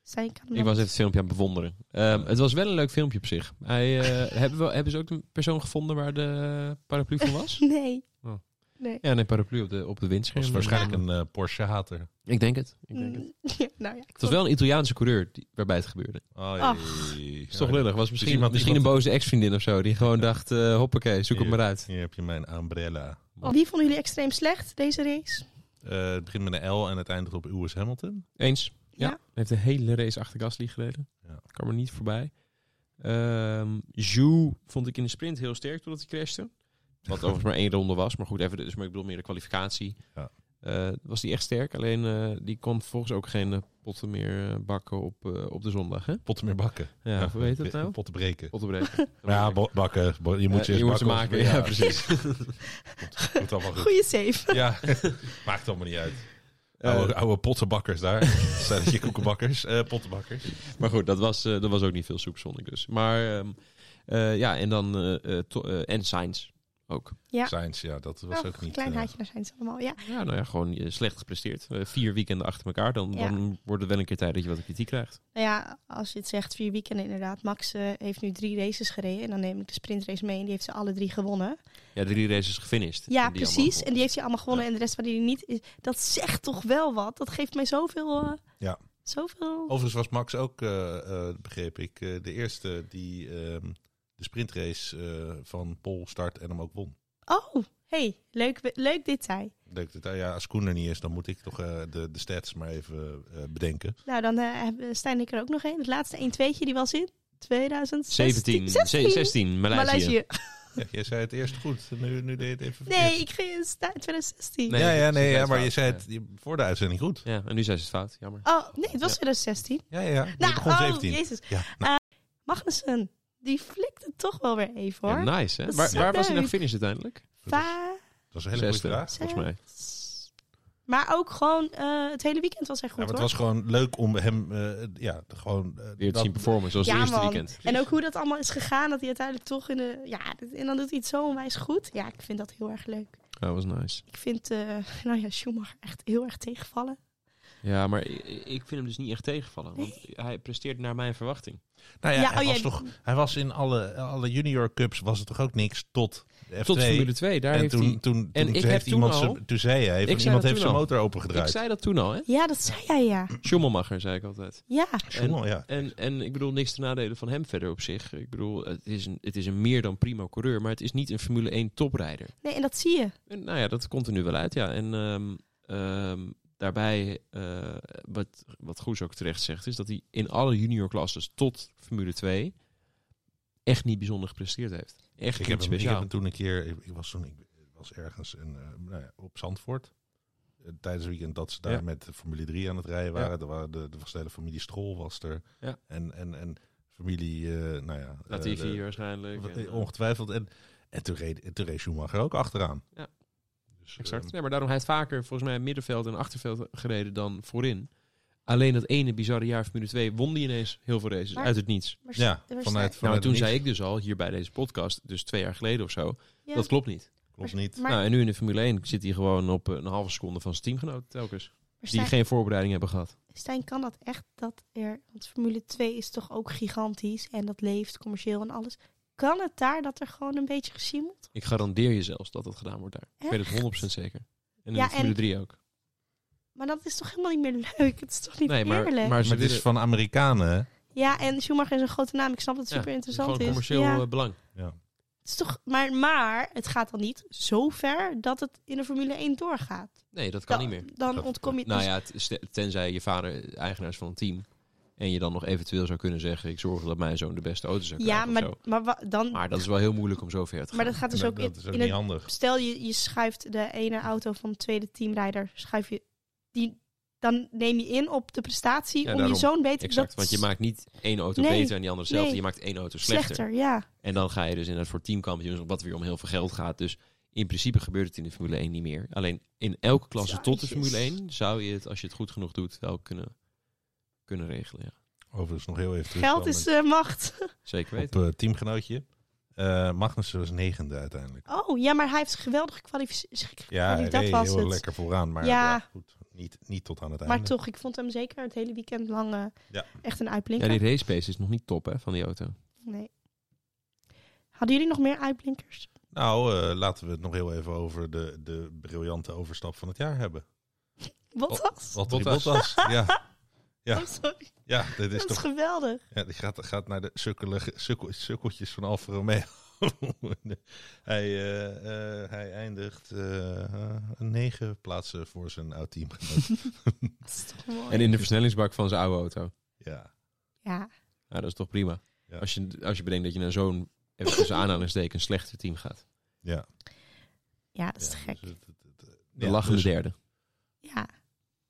Speaker 1: Zij kan
Speaker 3: Ik was even het filmpje aan het bewonderen. Ehm, het was wel een leuk filmpje op zich. Hij, eh, hebben, we, hebben ze ook een persoon gevonden waar de paraplu van was?
Speaker 1: Nee.
Speaker 3: Oh.
Speaker 1: Nee.
Speaker 3: Ja, nee, paraplu op de, op de windscherm.
Speaker 2: was waarschijnlijk een eh, Porsche-hater.
Speaker 3: Ik denk het. Ik denk het.
Speaker 1: Ja, nou ja, ik
Speaker 3: Het was wel een Italiaanse coureur die, waarbij het gebeurde.
Speaker 2: Ai.
Speaker 1: Ach.
Speaker 3: is toch lullig. Was misschien,
Speaker 2: iemand-
Speaker 3: misschien
Speaker 2: iemand-
Speaker 3: een boze ex-vriendin of zo. Die gewoon dacht, eh, hoppakee, zoek het
Speaker 2: Hier.
Speaker 3: maar uit.
Speaker 2: Hier heb je mijn umbrella.
Speaker 1: vond- Wie vonden jullie extreem slecht, deze race?
Speaker 2: Eh, het begint met een L en het eindigt op Lewis Hamilton.
Speaker 3: Eens. Ja.
Speaker 1: Ja.
Speaker 3: Hij heeft de hele race achter Gasly gereden.
Speaker 2: Ja.
Speaker 3: Kan er niet voorbij. Ehm Zhu vond ik in de sprint heel sterk doordat hij crashte. Wat overigens maar één ronde was. Maar goed, even, dus, maar ik bedoel meer de kwalificatie.
Speaker 2: Ja.
Speaker 3: Eh, was die echt sterk. Alleen eh, die kon volgens ook geen eh, potten meer eh, bakken op, eh, op de zondag. Hè?
Speaker 2: Potten meer bakken.
Speaker 3: Ja, hoe heet dat nou?
Speaker 2: Potten breken.
Speaker 3: Potten breken.
Speaker 2: Maar ja, bo- bakken. bo- je moet ze eerst
Speaker 3: Ja, je moet ze
Speaker 2: bakken.
Speaker 3: maken. Ja, precies.
Speaker 2: Goed, goed allemaal goed.
Speaker 1: Goeie save.
Speaker 2: Ja, maakt allemaal niet uit.
Speaker 3: Eh,
Speaker 2: oude, oude pottenbakkers daar. Zijn dat je koekenbakkers? Eh, pottenbakkers.
Speaker 3: Maar goed, dat was, eh, dat was ook niet veel soep zonder dus. Maar ehm, eh, ja, en dan eh, eh, to- eh, en Sainz ook.
Speaker 1: Ja.
Speaker 2: Science, ja, dat was
Speaker 1: Oh,
Speaker 2: ook niet...
Speaker 1: klein
Speaker 2: eh,
Speaker 1: haatje, daar zijn ze allemaal. Ja,
Speaker 3: Ja, nou ja, gewoon eh, slecht gepresteerd. Eh, vier weekenden achter elkaar, dan,
Speaker 1: Ja.
Speaker 3: dan wordt het wel een keer tijd dat je wat kritiek krijgt.
Speaker 1: nou ja, als je het zegt, vier weekenden inderdaad. Max eh, heeft nu drie races gereden. En dan neem ik de sprintrace mee en die heeft ze alle drie gewonnen.
Speaker 3: Ja, drie races gefinished.
Speaker 1: Ja,
Speaker 3: En die
Speaker 1: precies.
Speaker 3: allemaal-
Speaker 1: En die heeft hij allemaal gewonnen. En de rest waar die niet is. Dat zegt toch wel wat. Dat geeft mij zoveel... eh,
Speaker 2: Ja. Oh.
Speaker 1: Zoveel...
Speaker 2: Overigens was Max ook, eh, eh, begreep ik, eh, de eerste die ehm, de sprintrace eh, van Pol start en hem ook won.
Speaker 1: Oh, hey, leuk, leuk detail.
Speaker 2: Leuk dat, nou ja, als Koen er niet is, dan moet ik toch eh, de, de stats maar even eh, bedenken.
Speaker 1: Nou, dan eh, hebben Stijn en ik er ook nog één. Het laatste 1 2tje die was in 2016.
Speaker 3: 17, 16, 16 Maleisië.
Speaker 1: Maleisië.
Speaker 2: Ja, jij zei het eerst goed, nu, nu deed je het even verkeerd.
Speaker 1: Nee, ik ging in sta- 2016.
Speaker 3: Nee,
Speaker 2: ja,
Speaker 3: dat
Speaker 2: ja,
Speaker 3: is
Speaker 2: nee,
Speaker 3: niet
Speaker 2: ja, maar je
Speaker 3: fout.
Speaker 2: zei het je- voor de uitzending goed.
Speaker 3: Ja, en nu zijn ze het fout, jammer.
Speaker 1: Oh, nee, het was 2016.
Speaker 2: Ja, ja, ja.
Speaker 1: Nou,
Speaker 2: je begon
Speaker 1: oh,
Speaker 2: 17.
Speaker 1: jezus. Eh,
Speaker 2: Ja, nou.
Speaker 1: Magnussen, die flikte toch wel weer even hoor.
Speaker 3: Ja, nice, hè?
Speaker 1: Dat is
Speaker 3: Waar,
Speaker 1: zo
Speaker 3: waar was hij nou
Speaker 1: leuk.
Speaker 3: gefinished uiteindelijk?
Speaker 1: Va-
Speaker 2: nou, dat is een hele goede
Speaker 3: Zesde.
Speaker 2: vraag.
Speaker 3: Volgens mij.
Speaker 1: Maar ook gewoon, eh, het hele weekend was hij
Speaker 2: Ja, maar
Speaker 1: goed
Speaker 2: het
Speaker 1: hoor.
Speaker 2: was gewoon leuk om hem, eh, ja, gewoon... eh,
Speaker 3: Weer te
Speaker 2: dat-
Speaker 3: zien performen, zoals het
Speaker 1: Ja,
Speaker 3: eerste
Speaker 1: man.
Speaker 3: weekend.
Speaker 1: En ook hoe dat allemaal is gegaan, dat hij uiteindelijk toch in de... Ja, dit- en dan doet hij het zo onwijs goed. Ja, ik vind dat heel erg leuk.
Speaker 3: Dat was nice.
Speaker 1: Ik vind, eh, nou ja, Schumacher echt heel erg tegenvallen.
Speaker 3: Ja, maar i- i- ik vind hem dus niet echt tegenvallen. Want hij presteert naar mijn verwachting.
Speaker 2: Nou ja,
Speaker 1: Ja,
Speaker 2: hij,
Speaker 1: oh ja,
Speaker 2: was toch, hij was in alle, alle junior cups was het toch ook niks tot de F2.
Speaker 3: Tot Formule 2, daar
Speaker 2: en
Speaker 3: heeft
Speaker 2: toen,
Speaker 3: hij...
Speaker 2: toen, toen,
Speaker 3: en ik
Speaker 2: heeft
Speaker 3: heb toen
Speaker 2: iemand
Speaker 3: al-
Speaker 2: zijn- toen zei hij,
Speaker 3: zei
Speaker 2: van,
Speaker 3: dat
Speaker 2: iemand heeft
Speaker 3: toen
Speaker 2: zijn
Speaker 3: al.
Speaker 2: motor
Speaker 3: Ik
Speaker 2: opengedraaid.
Speaker 3: zei dat toen al, hè?
Speaker 1: Ja, dat zei jij ja.
Speaker 3: Schummelmacher, zei ik altijd.
Speaker 1: Ja,
Speaker 2: Schommel, ja.
Speaker 3: En, en ik bedoel, niks te nadelen van hem verder op zich. Ik bedoel, het is een, het is een meer dan prima coureur, maar het is niet een Formule 1 toprijder.
Speaker 1: nee, en dat zie je.
Speaker 3: En, nou ja, dat komt er nu wel uit, ja. En ehm, ehm, daarbij, eh, wat, wat Goes ook terecht zegt, is dat hij in alle juniorklasses tot Formule 2 echt niet bijzonder gepresteerd heeft. Echt
Speaker 2: Ik heb, hem,
Speaker 3: niet
Speaker 2: ik heb
Speaker 3: speciaal.
Speaker 2: hem toen een keer, ik, ik was toen ik was ergens in, eh, nou ja, op Zandvoort. Eh, Tijdens het weekend dat ze daar
Speaker 3: Ja.
Speaker 2: met de Formule 3 aan het rijden waren. Er waren de, de, was de hele familie Strol was er.
Speaker 3: Ja.
Speaker 2: En, en, en familie, eh, nou ja. eh,
Speaker 3: Latifi
Speaker 2: de-
Speaker 3: waarschijnlijk. en,
Speaker 2: eh,
Speaker 3: eh,
Speaker 2: ongetwijfeld. En, en toen, reed, toen reed Schumacher ook achteraan.
Speaker 3: Ja.
Speaker 2: Dus,
Speaker 3: Exact.
Speaker 2: ehm,
Speaker 3: Nee, maar daarom hij heeft vaker volgens mij middenveld en achterveld gereden dan voorin. Alleen dat ene bizarre jaar Formule 2 won die ineens heel veel races
Speaker 1: Maar-
Speaker 3: uit het niets.
Speaker 1: Maar
Speaker 2: ja,
Speaker 1: er was-
Speaker 2: vanuit,
Speaker 3: Nou,
Speaker 2: vanuit
Speaker 3: en toen
Speaker 2: niks.
Speaker 3: zei ik dus al, hier bij deze podcast, dus twee jaar geleden of zo,
Speaker 1: ja.
Speaker 3: dat klopt niet.
Speaker 2: Klopt niet.
Speaker 1: Maar,
Speaker 3: Nou, en nu in de Formule 1 zit hij gewoon op eh, een halve seconde van zijn teamgenoot telkens.
Speaker 1: maar
Speaker 3: Die
Speaker 1: Stijn,
Speaker 3: geen voorbereiding hebben gehad.
Speaker 1: Stijn, kan dat echt dat er... Want Formule 2 is toch ook gigantisch en dat leeft commercieel en alles. Kan het daar dat er gewoon een beetje gezien moet?
Speaker 3: Ik garandeer je zelfs dat dat gedaan wordt daar. Ik weet het 100% zeker. En in
Speaker 1: Ja,
Speaker 3: de Formule
Speaker 1: en-
Speaker 3: 3 ook.
Speaker 1: Maar dat is toch helemaal niet meer leuk? Het is toch niet
Speaker 3: Nee, maar,
Speaker 1: eerlijk?
Speaker 3: maar ze
Speaker 2: Maar dit is
Speaker 3: willen-
Speaker 2: van Amerikanen, hè?
Speaker 1: Ja, en Schumacher is een grote naam. Ik snap dat het
Speaker 3: ja,
Speaker 1: super interessant
Speaker 3: Gewoon
Speaker 1: is.
Speaker 3: commercieel
Speaker 1: Ja.
Speaker 3: eh, belang.
Speaker 2: Ja.
Speaker 1: Het is toch, maar, maar het gaat dan niet zo ver dat het in de Formule 1 doorgaat.
Speaker 3: Nee, dat kan
Speaker 1: dan,
Speaker 3: niet meer.
Speaker 1: Dan
Speaker 2: Dat-
Speaker 1: ontkom je het
Speaker 3: Nou
Speaker 1: dus-
Speaker 3: ja, het is te- tenzij je vader eh, eigenaar is van een team. En je dan nog eventueel zou kunnen zeggen, ik zorg dat mijn zoon de beste auto zou
Speaker 1: ja,
Speaker 3: krijgen of
Speaker 1: maar,
Speaker 3: zo.
Speaker 1: maar, wa- dan,
Speaker 3: Maar dat is wel heel moeilijk om zo ver te gaan.
Speaker 1: maar dat gaat dus
Speaker 2: En
Speaker 1: ook
Speaker 2: dat
Speaker 1: in,
Speaker 2: is ook
Speaker 1: in
Speaker 2: niet
Speaker 1: het
Speaker 2: handig.
Speaker 1: Stel je, je schuift de ene auto van de tweede teamrijder, schuif je die, dan neem je in op de prestatie
Speaker 3: Ja,
Speaker 1: om
Speaker 3: daarom.
Speaker 1: je zoon beter
Speaker 3: Exact,
Speaker 1: dat
Speaker 3: want je
Speaker 1: is
Speaker 3: maakt niet één auto
Speaker 1: Nee,
Speaker 3: beter en die andere hetzelfde.
Speaker 1: nee.
Speaker 3: Je maakt één auto
Speaker 1: slechter.
Speaker 3: slechter.
Speaker 1: ja.
Speaker 3: dus En dan ga je dus inderdaad voor teamkampioens, wat weer om heel veel geld gaat. Dus In principe gebeurt het in de Formule 1 niet meer. Alleen in elke klasse tot de
Speaker 1: Zaadjes.
Speaker 3: Formule 1 zou je het, als je het goed genoeg doet, wel kunnen, kunnen regelen. Ja.
Speaker 2: Overigens nog heel even terug.
Speaker 1: Geld is eh, macht.
Speaker 3: Zeker
Speaker 2: Op
Speaker 3: weten.
Speaker 2: eh, teamgenootje. Eh Magnussen was negende uiteindelijk.
Speaker 1: Oh, ja, maar hij heeft geweldig gekwalificeerd.
Speaker 2: Ja, hij
Speaker 1: dat
Speaker 2: reed
Speaker 1: was
Speaker 2: heel
Speaker 1: het.
Speaker 2: lekker vooraan. Maar
Speaker 1: Ja.
Speaker 2: ja, goed, niet, niet tot aan het
Speaker 1: Maar
Speaker 2: einde.
Speaker 1: toch, ik vond hem zeker het hele weekend lang eh,
Speaker 2: Ja.
Speaker 1: echt een
Speaker 3: Ja,
Speaker 1: uitblinker.
Speaker 3: die race pace is nog niet top hè, van die auto.
Speaker 1: Nee. Hadden jullie nog meer uitblinkers?
Speaker 2: Nou, eh, laten we het nog heel even over de, de briljante overstap van het jaar hebben.
Speaker 1: Wat was?
Speaker 2: Valtteri
Speaker 3: Bottas.
Speaker 2: Bottas. Ja, ja.
Speaker 1: Oh, sorry.
Speaker 2: ja, dit is
Speaker 1: Dat is
Speaker 2: toch.
Speaker 1: geweldig.
Speaker 2: Ja, die gaat, gaat naar de sukkelige, sukkel, sukkeltjes van Alfa Romeo. hij, eh, eh, hij eindigt eh, eh, negen plaatsen voor zijn oud team.
Speaker 1: Dat is toch mooi.
Speaker 3: En in de versnellingsbak van zijn oude auto.
Speaker 2: ja.
Speaker 1: Ja,
Speaker 3: Nou, dat is toch prima.
Speaker 2: Ja.
Speaker 3: Als, je, als je bedenkt dat je naar zo'n, even tussen aanhalingstekens, slechter team gaat.
Speaker 2: Ja,
Speaker 1: ja, dat is te
Speaker 2: ja,
Speaker 1: gek.
Speaker 2: dus het- het- het-
Speaker 3: De
Speaker 2: ja,
Speaker 3: lachende
Speaker 2: dus
Speaker 3: derde.
Speaker 1: Ja.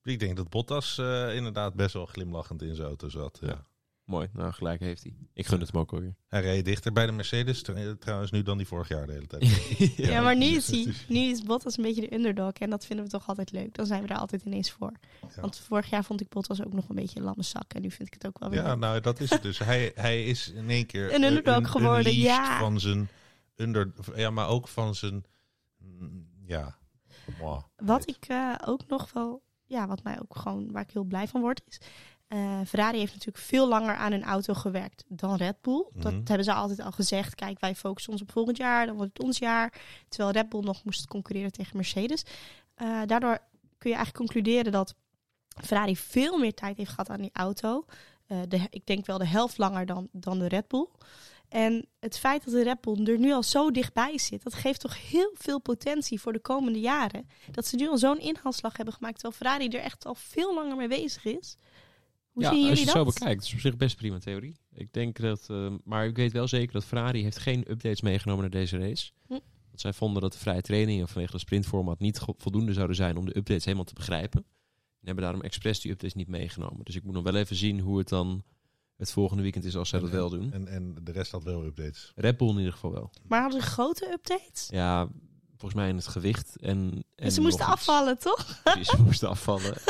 Speaker 2: Ik denk dat Bottas eh, inderdaad best wel glimlachend in zijn auto zat. ja.
Speaker 3: Ja. Mooi, nou gelijk heeft hij. Ik gun het hem ook alweer.
Speaker 2: Hij reed dichter bij de Mercedes tr- trouwens nu dan die vorig jaar de hele tijd.
Speaker 1: Ja,
Speaker 2: Ja.
Speaker 1: maar nu is, hij, nu is Bottas een beetje de underdog. En dat vinden we toch altijd leuk. Dan zijn we daar altijd ineens voor.
Speaker 2: Ja.
Speaker 1: Want vorig jaar vond ik Bottas ook nog een beetje een lamme zak. En nu vind ik het ook wel weer
Speaker 2: Ja,
Speaker 1: leuk.
Speaker 2: nou dat is het dus. Hij, hij is in één keer
Speaker 1: Een underdog
Speaker 2: un-
Speaker 1: geworden,
Speaker 2: unleashed
Speaker 1: ja.
Speaker 2: Van zijn under, ja, maar ook van zijn, mm, ja. Mwah.
Speaker 1: Wat ik eh, ook nog wel, ja, wat mij ook gewoon, waar ik heel blij van word, is. eh, Ferrari heeft natuurlijk veel langer aan hun auto gewerkt dan Red Bull. Dat
Speaker 2: Mhm.
Speaker 1: hebben ze altijd al gezegd. Kijk, wij focussen ons op volgend jaar, dan wordt het ons jaar. Terwijl Red Bull nog moest concurreren tegen Mercedes. Eh, daardoor kun je eigenlijk concluderen dat Ferrari veel meer tijd heeft gehad aan die auto. Eh, de, ik denk wel de helft langer dan, dan de Red Bull. En het feit dat de Red Bull er nu al zo dichtbij zit, dat geeft toch heel veel potentie voor de komende jaren. Dat ze nu al zo'n inhaalslag hebben gemaakt, terwijl Ferrari er echt al veel langer mee bezig is. Hoe
Speaker 3: ja,
Speaker 1: zien
Speaker 3: als
Speaker 1: jullie
Speaker 3: je het
Speaker 1: dat?
Speaker 3: zo bekijkt, is het op zich best prima theorie. Ik denk dat, eh, maar ik weet wel zeker dat Ferrari heeft geen updates meegenomen naar deze race.
Speaker 1: Hm.
Speaker 3: Want zij vonden dat de vrije trainingen vanwege het sprintformat niet go- voldoende zouden zijn om de updates helemaal te begrijpen. En hebben daarom expres die updates niet meegenomen. Dus ik moet nog wel even zien hoe het dan het volgende weekend is als zij dat wel doen.
Speaker 2: En, en de rest had wel updates.
Speaker 3: Eh, Red Bull in ieder geval wel.
Speaker 1: Maar hadden ze grote updates?
Speaker 3: Ja, volgens mij in het gewicht en... en
Speaker 1: Dus ze moesten
Speaker 3: nog iets.
Speaker 1: afvallen, toch?
Speaker 3: Precies, ze moesten afvallen. En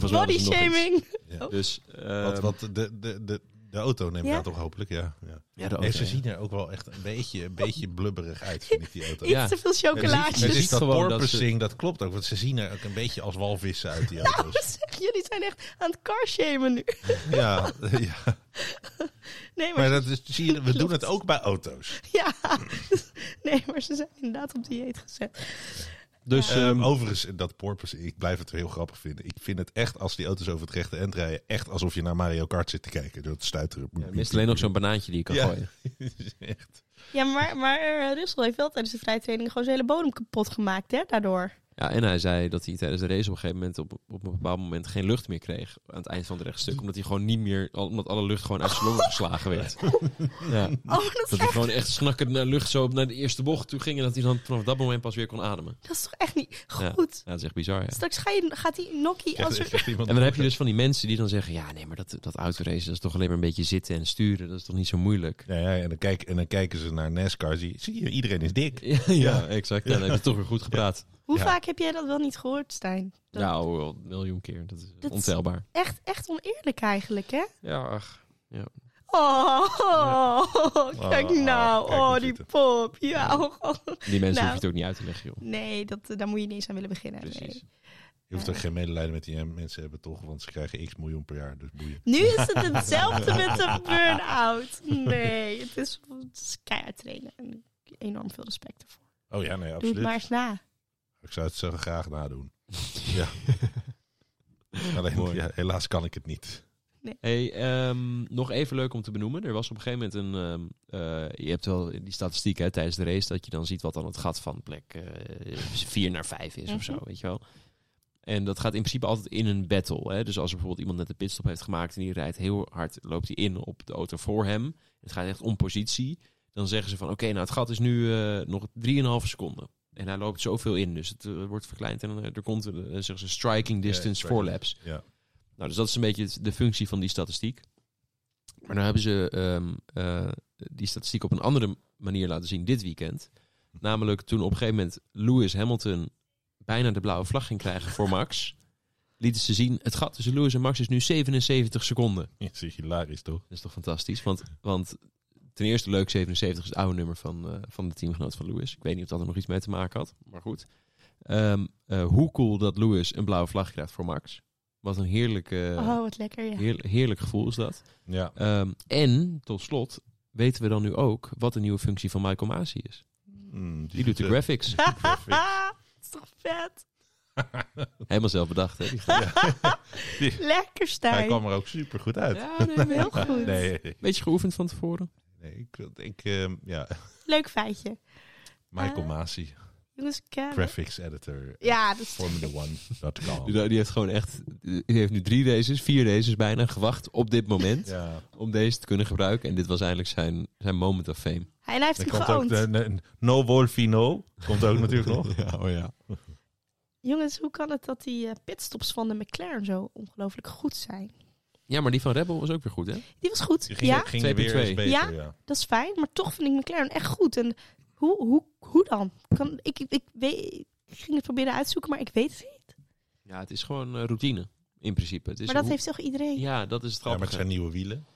Speaker 3: volgens mij
Speaker 1: Body
Speaker 3: hadden ze nog iets.
Speaker 1: shaming.
Speaker 2: Ja.
Speaker 3: Dus, eh,
Speaker 2: wat, wat de, de, de, de auto neemt
Speaker 1: Ja?
Speaker 2: daar toch hopelijk, ja. ja. Nee,
Speaker 3: ja, de auto,
Speaker 2: ze
Speaker 3: ja.
Speaker 2: zien er ook wel echt een beetje, een beetje blubberig uit, vind ik die auto.
Speaker 1: Iets
Speaker 3: Ja.
Speaker 1: te veel
Speaker 2: Het is-
Speaker 1: chocolaatjes.
Speaker 2: Het
Speaker 3: Je
Speaker 2: is
Speaker 3: ziet
Speaker 2: dat
Speaker 3: gewoon dat ze-
Speaker 2: porpoising, dat klopt ook. Want ze zien er ook een beetje als walvissen uit, die auto's.
Speaker 1: Nou, Jullie zijn echt aan het carshamen nu.
Speaker 2: Ja, ja.
Speaker 1: Nee, maar,
Speaker 2: maar dat is, zie je, we doen het ook bij auto's.
Speaker 1: ja. nee, maar ze zijn inderdaad op dieet gezet.
Speaker 3: Dus
Speaker 2: Ehm,
Speaker 3: ehm,
Speaker 2: overigens, dat porpoise, ik blijf het heel grappig vinden. Ik vind het echt, als die auto's over het rechte eind rijden, echt alsof je naar Mario Kart zit te kijken. Door het stuiteren.
Speaker 3: ja, mist alleen nog zo'n banaantje die je kan
Speaker 2: Ja.
Speaker 3: gooien.
Speaker 2: echt.
Speaker 1: Ja, maar, maar eh, Russell heeft wel tijdens de vrije training gewoon zijn hele bodem kapot gemaakt, hè, daardoor.
Speaker 3: Ja, en hij zei dat hij tijdens de race op een gegeven moment op, op een bepaald moment geen lucht meer kreeg aan het eind van het rechtstuk. Omdat hij gewoon niet meer, al- omdat alle lucht gewoon uit zijn longen geslagen werd. Ja.
Speaker 1: Oh, dat is,
Speaker 3: Dat hij gewoon echt snakkend naar lucht zo op naar de eerste bocht toe ging. En dat hij dan vanaf dat moment pas weer kon ademen.
Speaker 1: dat is toch echt niet
Speaker 3: Ja.
Speaker 1: goed?
Speaker 3: Ja, dat is echt bizar. Ja.
Speaker 1: Straks ga je, gaat die Nokkie als
Speaker 2: Echt,
Speaker 1: er...
Speaker 2: echt iemand-
Speaker 3: En dan heb je dus van die mensen die dan zeggen: Ja, nee, maar dat, dat autoracen dat is toch alleen maar een beetje zitten en sturen. Dat is toch niet zo moeilijk.
Speaker 2: Ja, ja, en, dan kijk, en dan kijken ze naar NASCAR. Zie, zie je, iedereen is dik.
Speaker 3: Ja, ja, exact. Ja, dan heb je toch weer goed gepraat.
Speaker 1: Hoe
Speaker 2: Ja.
Speaker 1: vaak heb jij dat wel niet gehoord, Stijn? Dat-
Speaker 3: Nou, wel een miljoen keer. Dat is
Speaker 1: Dat-
Speaker 3: ontelbaar.
Speaker 1: Echt, echt oneerlijk eigenlijk, hè?
Speaker 3: Ja, ach.
Speaker 1: Oh, kijk
Speaker 2: Oh,
Speaker 1: nou.
Speaker 2: kijk
Speaker 1: Oh,
Speaker 2: hem
Speaker 1: die
Speaker 2: zitten.
Speaker 1: pop. Ja, oh.
Speaker 3: Die mensen
Speaker 1: Nou.
Speaker 3: hoef je het ook niet uit te leggen, joh.
Speaker 1: Nee, dat, eh, daar moet je niet eens aan willen beginnen.
Speaker 3: Precies.
Speaker 1: Nee.
Speaker 2: Je hoeft er geen medelijden met die eh, mensen hebben, toch? Want ze krijgen x miljoen per jaar, dus boeien.
Speaker 1: Nu is het hetzelfde met een burn-out. Nee, het is, het is keihard trainen. En enorm veel respect ervoor.
Speaker 2: Oh ja, nee,
Speaker 1: Doe het
Speaker 2: absoluut.
Speaker 1: maar eens na.
Speaker 2: Ik zou het zo graag nadoen. Ja. Alleen,
Speaker 3: Mooi.
Speaker 2: ja, helaas kan ik het niet.
Speaker 3: Hey, ehm, nog even leuk om te benoemen. Er was op een gegeven moment een... ehm, eh, je hebt wel die statistiek hè, tijdens de race... dat je dan ziet wat dan het gat van plek 4 naar 5 is of zo,
Speaker 1: Mhm.
Speaker 3: weet je wel. En dat gaat in principe altijd in een battle. Hè? Dus als er bijvoorbeeld iemand net een pitstop heeft gemaakt... en die rijdt heel hard, loopt hij in op de auto voor hem. Het gaat echt om positie. Dan zeggen ze van, oké, nou het gat is nu eh, nog 3,5 seconden. En hij loopt zoveel in, dus het eh, wordt verkleind. En eh, er komt een, eh, zeggen ze, striking distance
Speaker 2: striking.
Speaker 3: voor laps.
Speaker 2: Ja.
Speaker 3: Nou, dus dat is een beetje het- de functie van die statistiek. Maar nou hebben ze ehm, eh, die statistiek op een andere manier laten zien dit weekend. Namelijk toen op een gegeven moment Lewis Hamilton bijna de blauwe vlag ging krijgen voor Max. Lieten ze zien, het gat tussen Lewis en Max is nu 77 seconden.
Speaker 2: Dat is hilarisch, toch?
Speaker 3: Dat is toch fantastisch? Want, want ten eerste leuk, 77 is het oude nummer van, eh, van de teamgenoot van Lewis. Ik weet niet of dat er nog iets mee te maken had, maar goed. Ehm, eh, hoe cool dat Lewis een blauwe vlag krijgt voor Max. Wat een heerlijke,
Speaker 1: oh, wat lekker, ja.
Speaker 3: heer- heerlijk gevoel is dat.
Speaker 2: Ja.
Speaker 3: Ehm, en, tot slot, weten we dan nu ook wat de nieuwe functie van Michael Masi is.
Speaker 2: Mm,
Speaker 3: Die doet de graphics.
Speaker 1: Dat is toch vet?
Speaker 3: Helemaal zelf bedacht, hè? Die
Speaker 1: Lekker,
Speaker 2: Hij
Speaker 1: Stijn.
Speaker 2: kwam er ook super goed uit.
Speaker 3: Ja, nee,
Speaker 1: Heel goed.
Speaker 2: Nee, nee,
Speaker 3: Beetje geoefend van tevoren.
Speaker 2: nee, ik denk, ehm, ja,
Speaker 1: Leuk feitje.
Speaker 2: Michael
Speaker 1: Ah.
Speaker 2: Masi,
Speaker 1: Jongens, ik, eh,
Speaker 2: graphics editor,
Speaker 1: Ja, dat is
Speaker 2: formula1.com.
Speaker 3: Die, die heeft gewoon echt, die heeft nu drie races, vier races bijna gewacht op dit moment.
Speaker 2: Ja,
Speaker 3: Om deze te kunnen gebruiken. En dit was eigenlijk zijn, zijn moment of fame.
Speaker 1: Hij hij heeft
Speaker 2: dan
Speaker 1: hem
Speaker 2: komt ook eh,
Speaker 1: geoond.
Speaker 2: de, de- No Wolfino, komt ook natuurlijk nog.
Speaker 3: ja, oh ja.
Speaker 1: Jongens, hoe kan het dat die eh, pitstops van de McLaren zo ongelooflijk goed zijn?
Speaker 3: Ja, maar die van Rebel was ook weer goed, hè?
Speaker 1: Die was goed.
Speaker 2: Die ging,
Speaker 1: Ja,
Speaker 2: ging er weer
Speaker 3: 2.2.
Speaker 2: eens beter, ja.
Speaker 1: Ja? dat is fijn. Maar toch vind ik McLaren echt goed. En hoe, hoe, hoe dan? Kan, ik, ik, ik, weet, ik ging het proberen uitzoeken, maar ik weet het niet.
Speaker 3: Ja, het is gewoon eh, routine, in principe. Het is
Speaker 1: Maar dat
Speaker 3: Dus hoe-
Speaker 1: heeft toch iedereen?
Speaker 3: Ja, dat is het
Speaker 2: Ja, maar het
Speaker 3: grappige.
Speaker 2: zijn nieuwe wielen.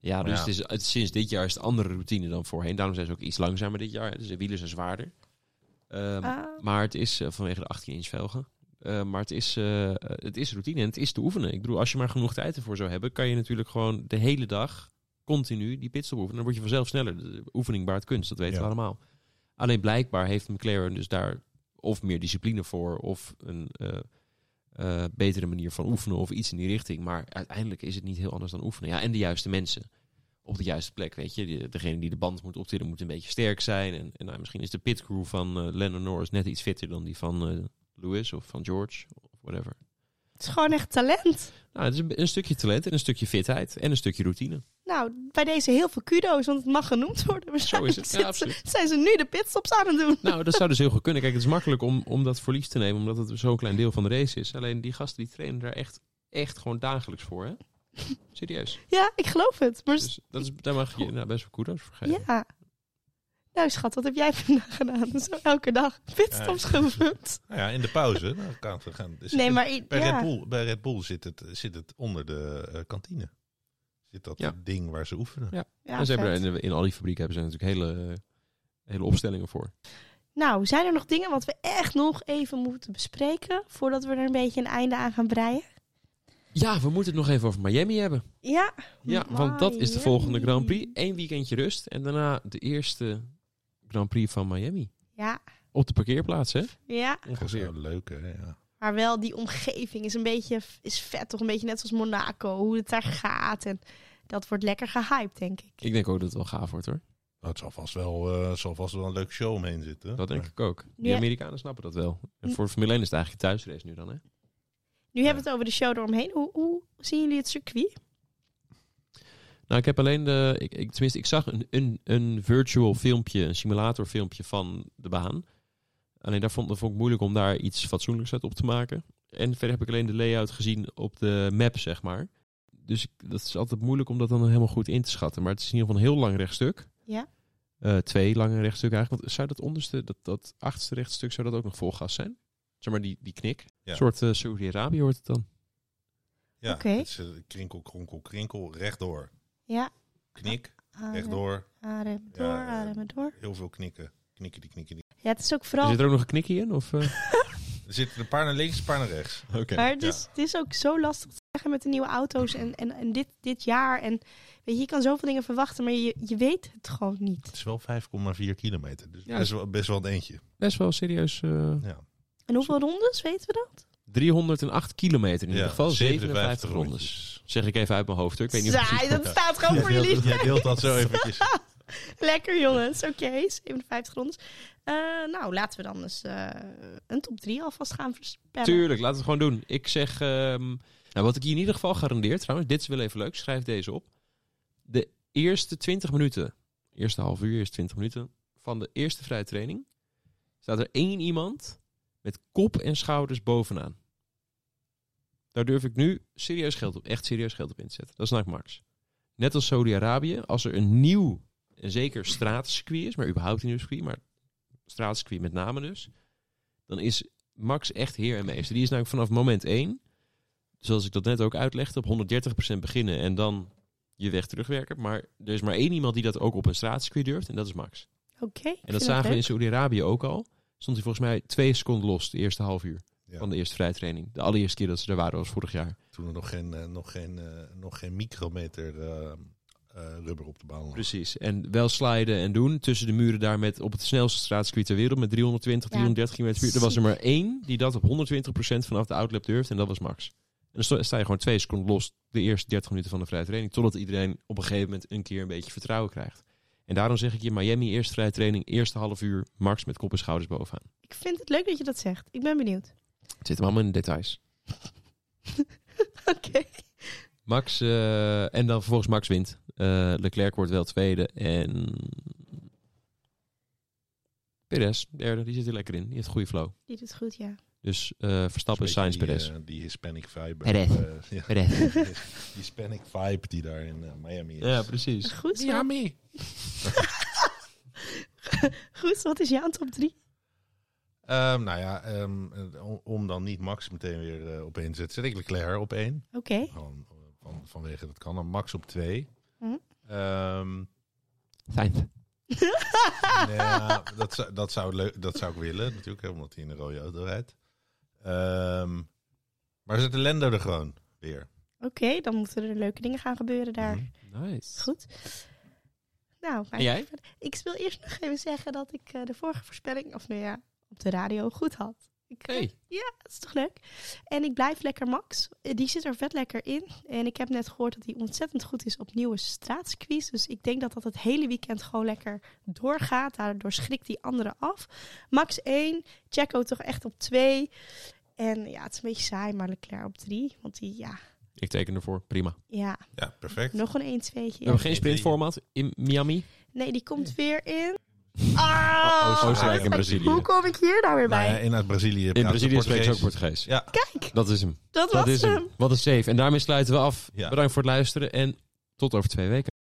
Speaker 3: Ja, dus
Speaker 2: Ja.
Speaker 3: Het is, het, sinds dit jaar is het andere routine dan voorheen. Daarom zijn ze ook iets langzamer dit jaar. hè. Dus de wielen zijn zwaarder. Ehm,
Speaker 1: Ah,
Speaker 3: Maar het is eh, vanwege de 18 inch velgen. Eh, maar het is, eh, het is routine en het is te oefenen. Ik bedoel, als je maar genoeg tijd ervoor zou hebben, kan je natuurlijk gewoon de hele dag continu die pitstop oefenen. Dan word je vanzelf sneller. De oefening baart kunst, dat weten
Speaker 2: Ja.
Speaker 3: we allemaal. Alleen blijkbaar heeft McLaren dus daar of meer discipline voor, of een eh, eh, betere manier van oefenen, of iets in die richting. Maar uiteindelijk is het niet heel anders dan oefenen. Ja, en de juiste mensen op de juiste plek, weet je. Die- Degene die de band moet optillen moet een beetje sterk zijn. En, en nou, misschien is de pitcrew van eh Lennon Norris net iets fitter dan die van eh, Lewis of van George of whatever.
Speaker 1: het is gewoon echt talent.
Speaker 3: Nou, het is een, een stukje talent en een stukje fitheid en een stukje routine.
Speaker 1: Nou, bij deze heel veel kudo's, want het mag genoemd worden.
Speaker 3: Zo is het. Ja,
Speaker 1: Waarschijnlijk
Speaker 3: absoluut.
Speaker 1: zijn ze nu de pitstops aan het doen.
Speaker 3: Nou, dat zou dus heel goed kunnen. Kijk, het is makkelijk om, om dat voor lief te nemen, omdat het zo'n klein deel van de race is. Alleen die gasten die trainen daar echt, echt gewoon dagelijks voor, hè? Serieus.
Speaker 1: Ja, ik geloof het. Maar
Speaker 3: Dus dat is, daar mag je nou, best wel kudos voor geven.
Speaker 1: Ja. Nou schat, wat heb jij vandaag gedaan? Zo elke dag pitstops gevoerd.
Speaker 2: Nou ja, in de pauze. nou, kan het gaan. Is-
Speaker 1: Nee, maar... i-
Speaker 2: bij, Red
Speaker 1: Ja.
Speaker 2: Bull, bij Red Bull zit het, zit het onder de eh, kantine. Zit dat
Speaker 3: Ja.
Speaker 2: ding waar ze oefenen.
Speaker 1: Ja,
Speaker 3: en ze hebben,
Speaker 1: vet.
Speaker 3: er- in, in al die fabrieken hebben ze natuurlijk hele, eh, hele opstellingen voor.
Speaker 1: Nou, zijn er nog dingen wat we echt nog even moeten bespreken... voordat we er een beetje een einde aan gaan breien?
Speaker 3: Ja, we moeten het nog even over Miami hebben.
Speaker 1: Ja,
Speaker 3: Ja, want dat is de
Speaker 1: Miami.
Speaker 3: volgende Grand Prix. Eén weekendje rust en daarna de eerste Grand Prix van Miami.
Speaker 1: ja,
Speaker 3: Op de parkeerplaats, hè?
Speaker 1: ja.
Speaker 2: Dat is wel leuk, hè? Ja.
Speaker 1: Maar wel die omgeving is een beetje is vet, toch? Een beetje net als Monaco, hoe het daar gaat. En dat wordt lekker gehyped, denk ik.
Speaker 3: Ik denk ook dat het wel gaaf wordt, hoor.
Speaker 2: Nou, het zal vast wel, eh, zal vast wel een leuk show omheen zitten.
Speaker 3: Dat denk
Speaker 2: Maar-
Speaker 3: ik ook. Die
Speaker 1: Ja.
Speaker 3: Amerikanen snappen dat wel. En
Speaker 1: Hm.
Speaker 3: voor Formule 1 is het eigenlijk een thuisrace nu dan, hè?
Speaker 1: Nu hebben we het over de show eromheen. Hoe, hoe zien jullie het circuit?
Speaker 3: Nou, ik heb alleen de... Ik, ik, tenminste, ik zag een, een, een virtual filmpje, een simulatorfilmpje van de baan. Alleen daar vond, dat vond ik moeilijk om daar iets fatsoenlijks uit op te maken. En verder heb ik alleen de layout gezien op de map, zeg maar. Dus ik- dat is altijd moeilijk om dat dan helemaal goed in te schatten. Maar het is in ieder geval een heel lang rechtstuk.
Speaker 1: Ja.
Speaker 3: Eh, twee lange rechtstukken eigenlijk. Want zou dat onderste, dat, dat achtste rechtstuk, zou dat ook nog vol gas zijn? Zeg maar die, die knik.
Speaker 2: Ja.
Speaker 3: Een soort eh, Saudi-Arabië wordt het dan.
Speaker 2: Ja,
Speaker 1: Oké.
Speaker 2: het is, eh, krinkel, kronkel, krinkel, rechtdoor.
Speaker 1: Ja.
Speaker 2: Knik,
Speaker 1: Ah, Adem,
Speaker 2: rechtdoor.
Speaker 1: ademen door,
Speaker 2: Ja, eh,
Speaker 1: ademen door.
Speaker 2: Heel veel knikken. Knikken die knikken die.
Speaker 1: Ja, het is ook vooral...
Speaker 3: Zit er ook nog een knikje in? Of, eh?
Speaker 2: Er zitten een paar naar links, een paar naar rechts.
Speaker 3: Oké.
Speaker 1: Maar het is, het is ook zo lastig te zeggen met de nieuwe auto's en, en, en dit, dit jaar. En weet je, je kan zoveel dingen verwachten, maar je, je weet het gewoon niet.
Speaker 2: Het is wel 5,4 kilometer. Dus
Speaker 3: Ja.
Speaker 2: best, wel, best wel een eentje.
Speaker 3: Best wel serieus... eh,
Speaker 2: Ja.
Speaker 1: En hoeveel rondes weten we dat?
Speaker 3: 308 kilometer in
Speaker 2: Ja,
Speaker 3: ieder geval, 57 rondes.
Speaker 2: rondjes.
Speaker 3: Zeg ik even uit mijn hoofd, hoor. ik weet niet of het
Speaker 1: Zij,
Speaker 3: precies
Speaker 1: dat
Speaker 3: klopt.
Speaker 1: staat gewoon voor
Speaker 2: Jij
Speaker 1: jullie.
Speaker 2: deelt, jij deelt dat zo eventjes.
Speaker 1: Lekker jongens, oké, 57 rondes. Eh, nou, laten we dan eens eh, een top 3 alvast gaan voorspellen.
Speaker 3: Tuurlijk, laten we het gewoon doen. Ik zeg, ehm, nou, wat ik je in ieder geval garandeer trouwens, dit is wel even leuk, schrijf deze op. De eerste 20 minuten, eerste half uur, eerste 20 minuten van de eerste vrije training, staat er één iemand met kop en schouders bovenaan. Daar durf ik nu serieus geld op, echt serieus geld op in te zetten. Dat is Nike Max. Net als Saudi-Arabië, als er een nieuw, en zeker straatcircuit is, maar überhaupt een nieuw circuit, maar straatcircuit met name dus, dan is Max echt heer en meester. Die is nou vanaf moment 1, zoals ik dat net ook uitlegde, op 130% beginnen en dan je weg terugwerken. Maar er is maar één iemand die dat ook op een straatcircuit durft en dat is Max.
Speaker 1: Oké. ik
Speaker 3: En
Speaker 1: vind
Speaker 3: dat zagen we in
Speaker 1: leuk.
Speaker 3: Saudi-Arabië ook al. Stond hij volgens mij twee seconden los, de eerste half uur
Speaker 2: Ja.
Speaker 3: van de eerste vrijtraining. De allereerste keer dat ze er waren was vorig jaar.
Speaker 2: Toen er nog geen, eh, nog geen, eh, nog geen micrometer eh, eh, rubber op de baan lag.
Speaker 3: Precies. En wel sliden en doen tussen de muren daar met op het snelste straatcircuit ter wereld met 320,
Speaker 1: Ja,
Speaker 3: 330 km per uur. Er was er maar één die dat op 120% vanaf de outlap durft en dat was Max. En dan sto- sta je gewoon twee seconden los de eerste 30 minuten van de vrije training. Totdat iedereen op een gegeven moment een keer een beetje vertrouwen krijgt. En daarom zeg ik je Miami, eerste vrije training, eerste half uur, Max met kop en schouders bovenaan.
Speaker 1: Ik vind het leuk dat je dat zegt. Ik ben benieuwd.
Speaker 3: Het zit hem allemaal in de details.
Speaker 1: Oké.
Speaker 3: Max, eh, en dan vervolgens Max wint. Eh, Leclerc wordt wel tweede en... Perez, derde, die zit er lekker in. Die heeft een goede flow.
Speaker 1: Die doet het goed, ja.
Speaker 3: Dus eh
Speaker 2: Dat
Speaker 3: Verstappen,
Speaker 2: is een
Speaker 3: Sainz,
Speaker 2: beetje die,
Speaker 3: Perez.
Speaker 2: eh, die Hispanic vibe.
Speaker 3: Perez.
Speaker 2: eh, ja.
Speaker 3: Perez.
Speaker 2: Die Hispanic vibe die daar in eh, Miami is.
Speaker 3: Ja, precies.
Speaker 1: Goed. zo. Goed, wat is jouw top 3?
Speaker 2: Ehm, nou ja, ehm, eh, om- om dan niet Max meteen weer eh, op één te zetten, zet ik Leclerc op één.
Speaker 1: Oké.
Speaker 2: Gewoon eh, van, vanwege dat kan. Dan Max op twee.
Speaker 1: Mhm.
Speaker 2: Ehm,
Speaker 3: Sainz.
Speaker 1: Ah.
Speaker 2: nou ja, dat, zou- dat, zou leuk, dat zou ik willen natuurlijk, hè, omdat hij in een rode auto rijdt. Ehm, maar zet de Lendo er gewoon weer.
Speaker 1: Oké, dan moeten er leuke dingen gaan gebeuren daar.
Speaker 2: Mhm.
Speaker 3: Nice.
Speaker 1: Goed. Nou, maar
Speaker 3: En jij?
Speaker 1: ik wil eerst nog even zeggen dat ik eh, de vorige voorspelling, of nou ja, op de radio goed had. Ik, eh,
Speaker 3: Hey.
Speaker 1: Dat is toch leuk? En ik blijf lekker Max. Eh, Die zit er vet lekker in. En ik heb net gehoord dat hij ontzettend goed is op nieuwe straatcircuits. Dus ik denk dat dat het hele weekend gewoon lekker doorgaat. Daardoor schrikt die anderen af. Max 1, Checo toch echt op 2. En ja, het is een beetje saai, maar Leclerc op 3. Want die, ja,
Speaker 3: Ik teken ervoor. Prima.
Speaker 1: ja
Speaker 2: Ja, perfect.
Speaker 1: nog een 1 2
Speaker 3: We hebben geen
Speaker 2: nee,
Speaker 3: sprintformat in Miami.
Speaker 1: Nee, die komt weer in.
Speaker 3: Oh,
Speaker 2: O-
Speaker 1: Ah!
Speaker 2: Oostenrijk en
Speaker 3: Brazilië.
Speaker 1: Hoe kom ik hier nou weer
Speaker 2: Nou
Speaker 1: bij?
Speaker 2: ja, in uit Brazilië.
Speaker 3: In
Speaker 2: praten ze
Speaker 3: Brazilië spreekt ze ook
Speaker 2: Portugees.
Speaker 3: Portugees.
Speaker 2: Ja.
Speaker 1: Kijk,
Speaker 3: Dat is hem.
Speaker 1: dat,
Speaker 3: Dat
Speaker 1: was
Speaker 3: is hem. Wat een save. En daarmee sluiten we af.
Speaker 2: Ja.
Speaker 3: Bedankt voor het luisteren en tot over twee weken.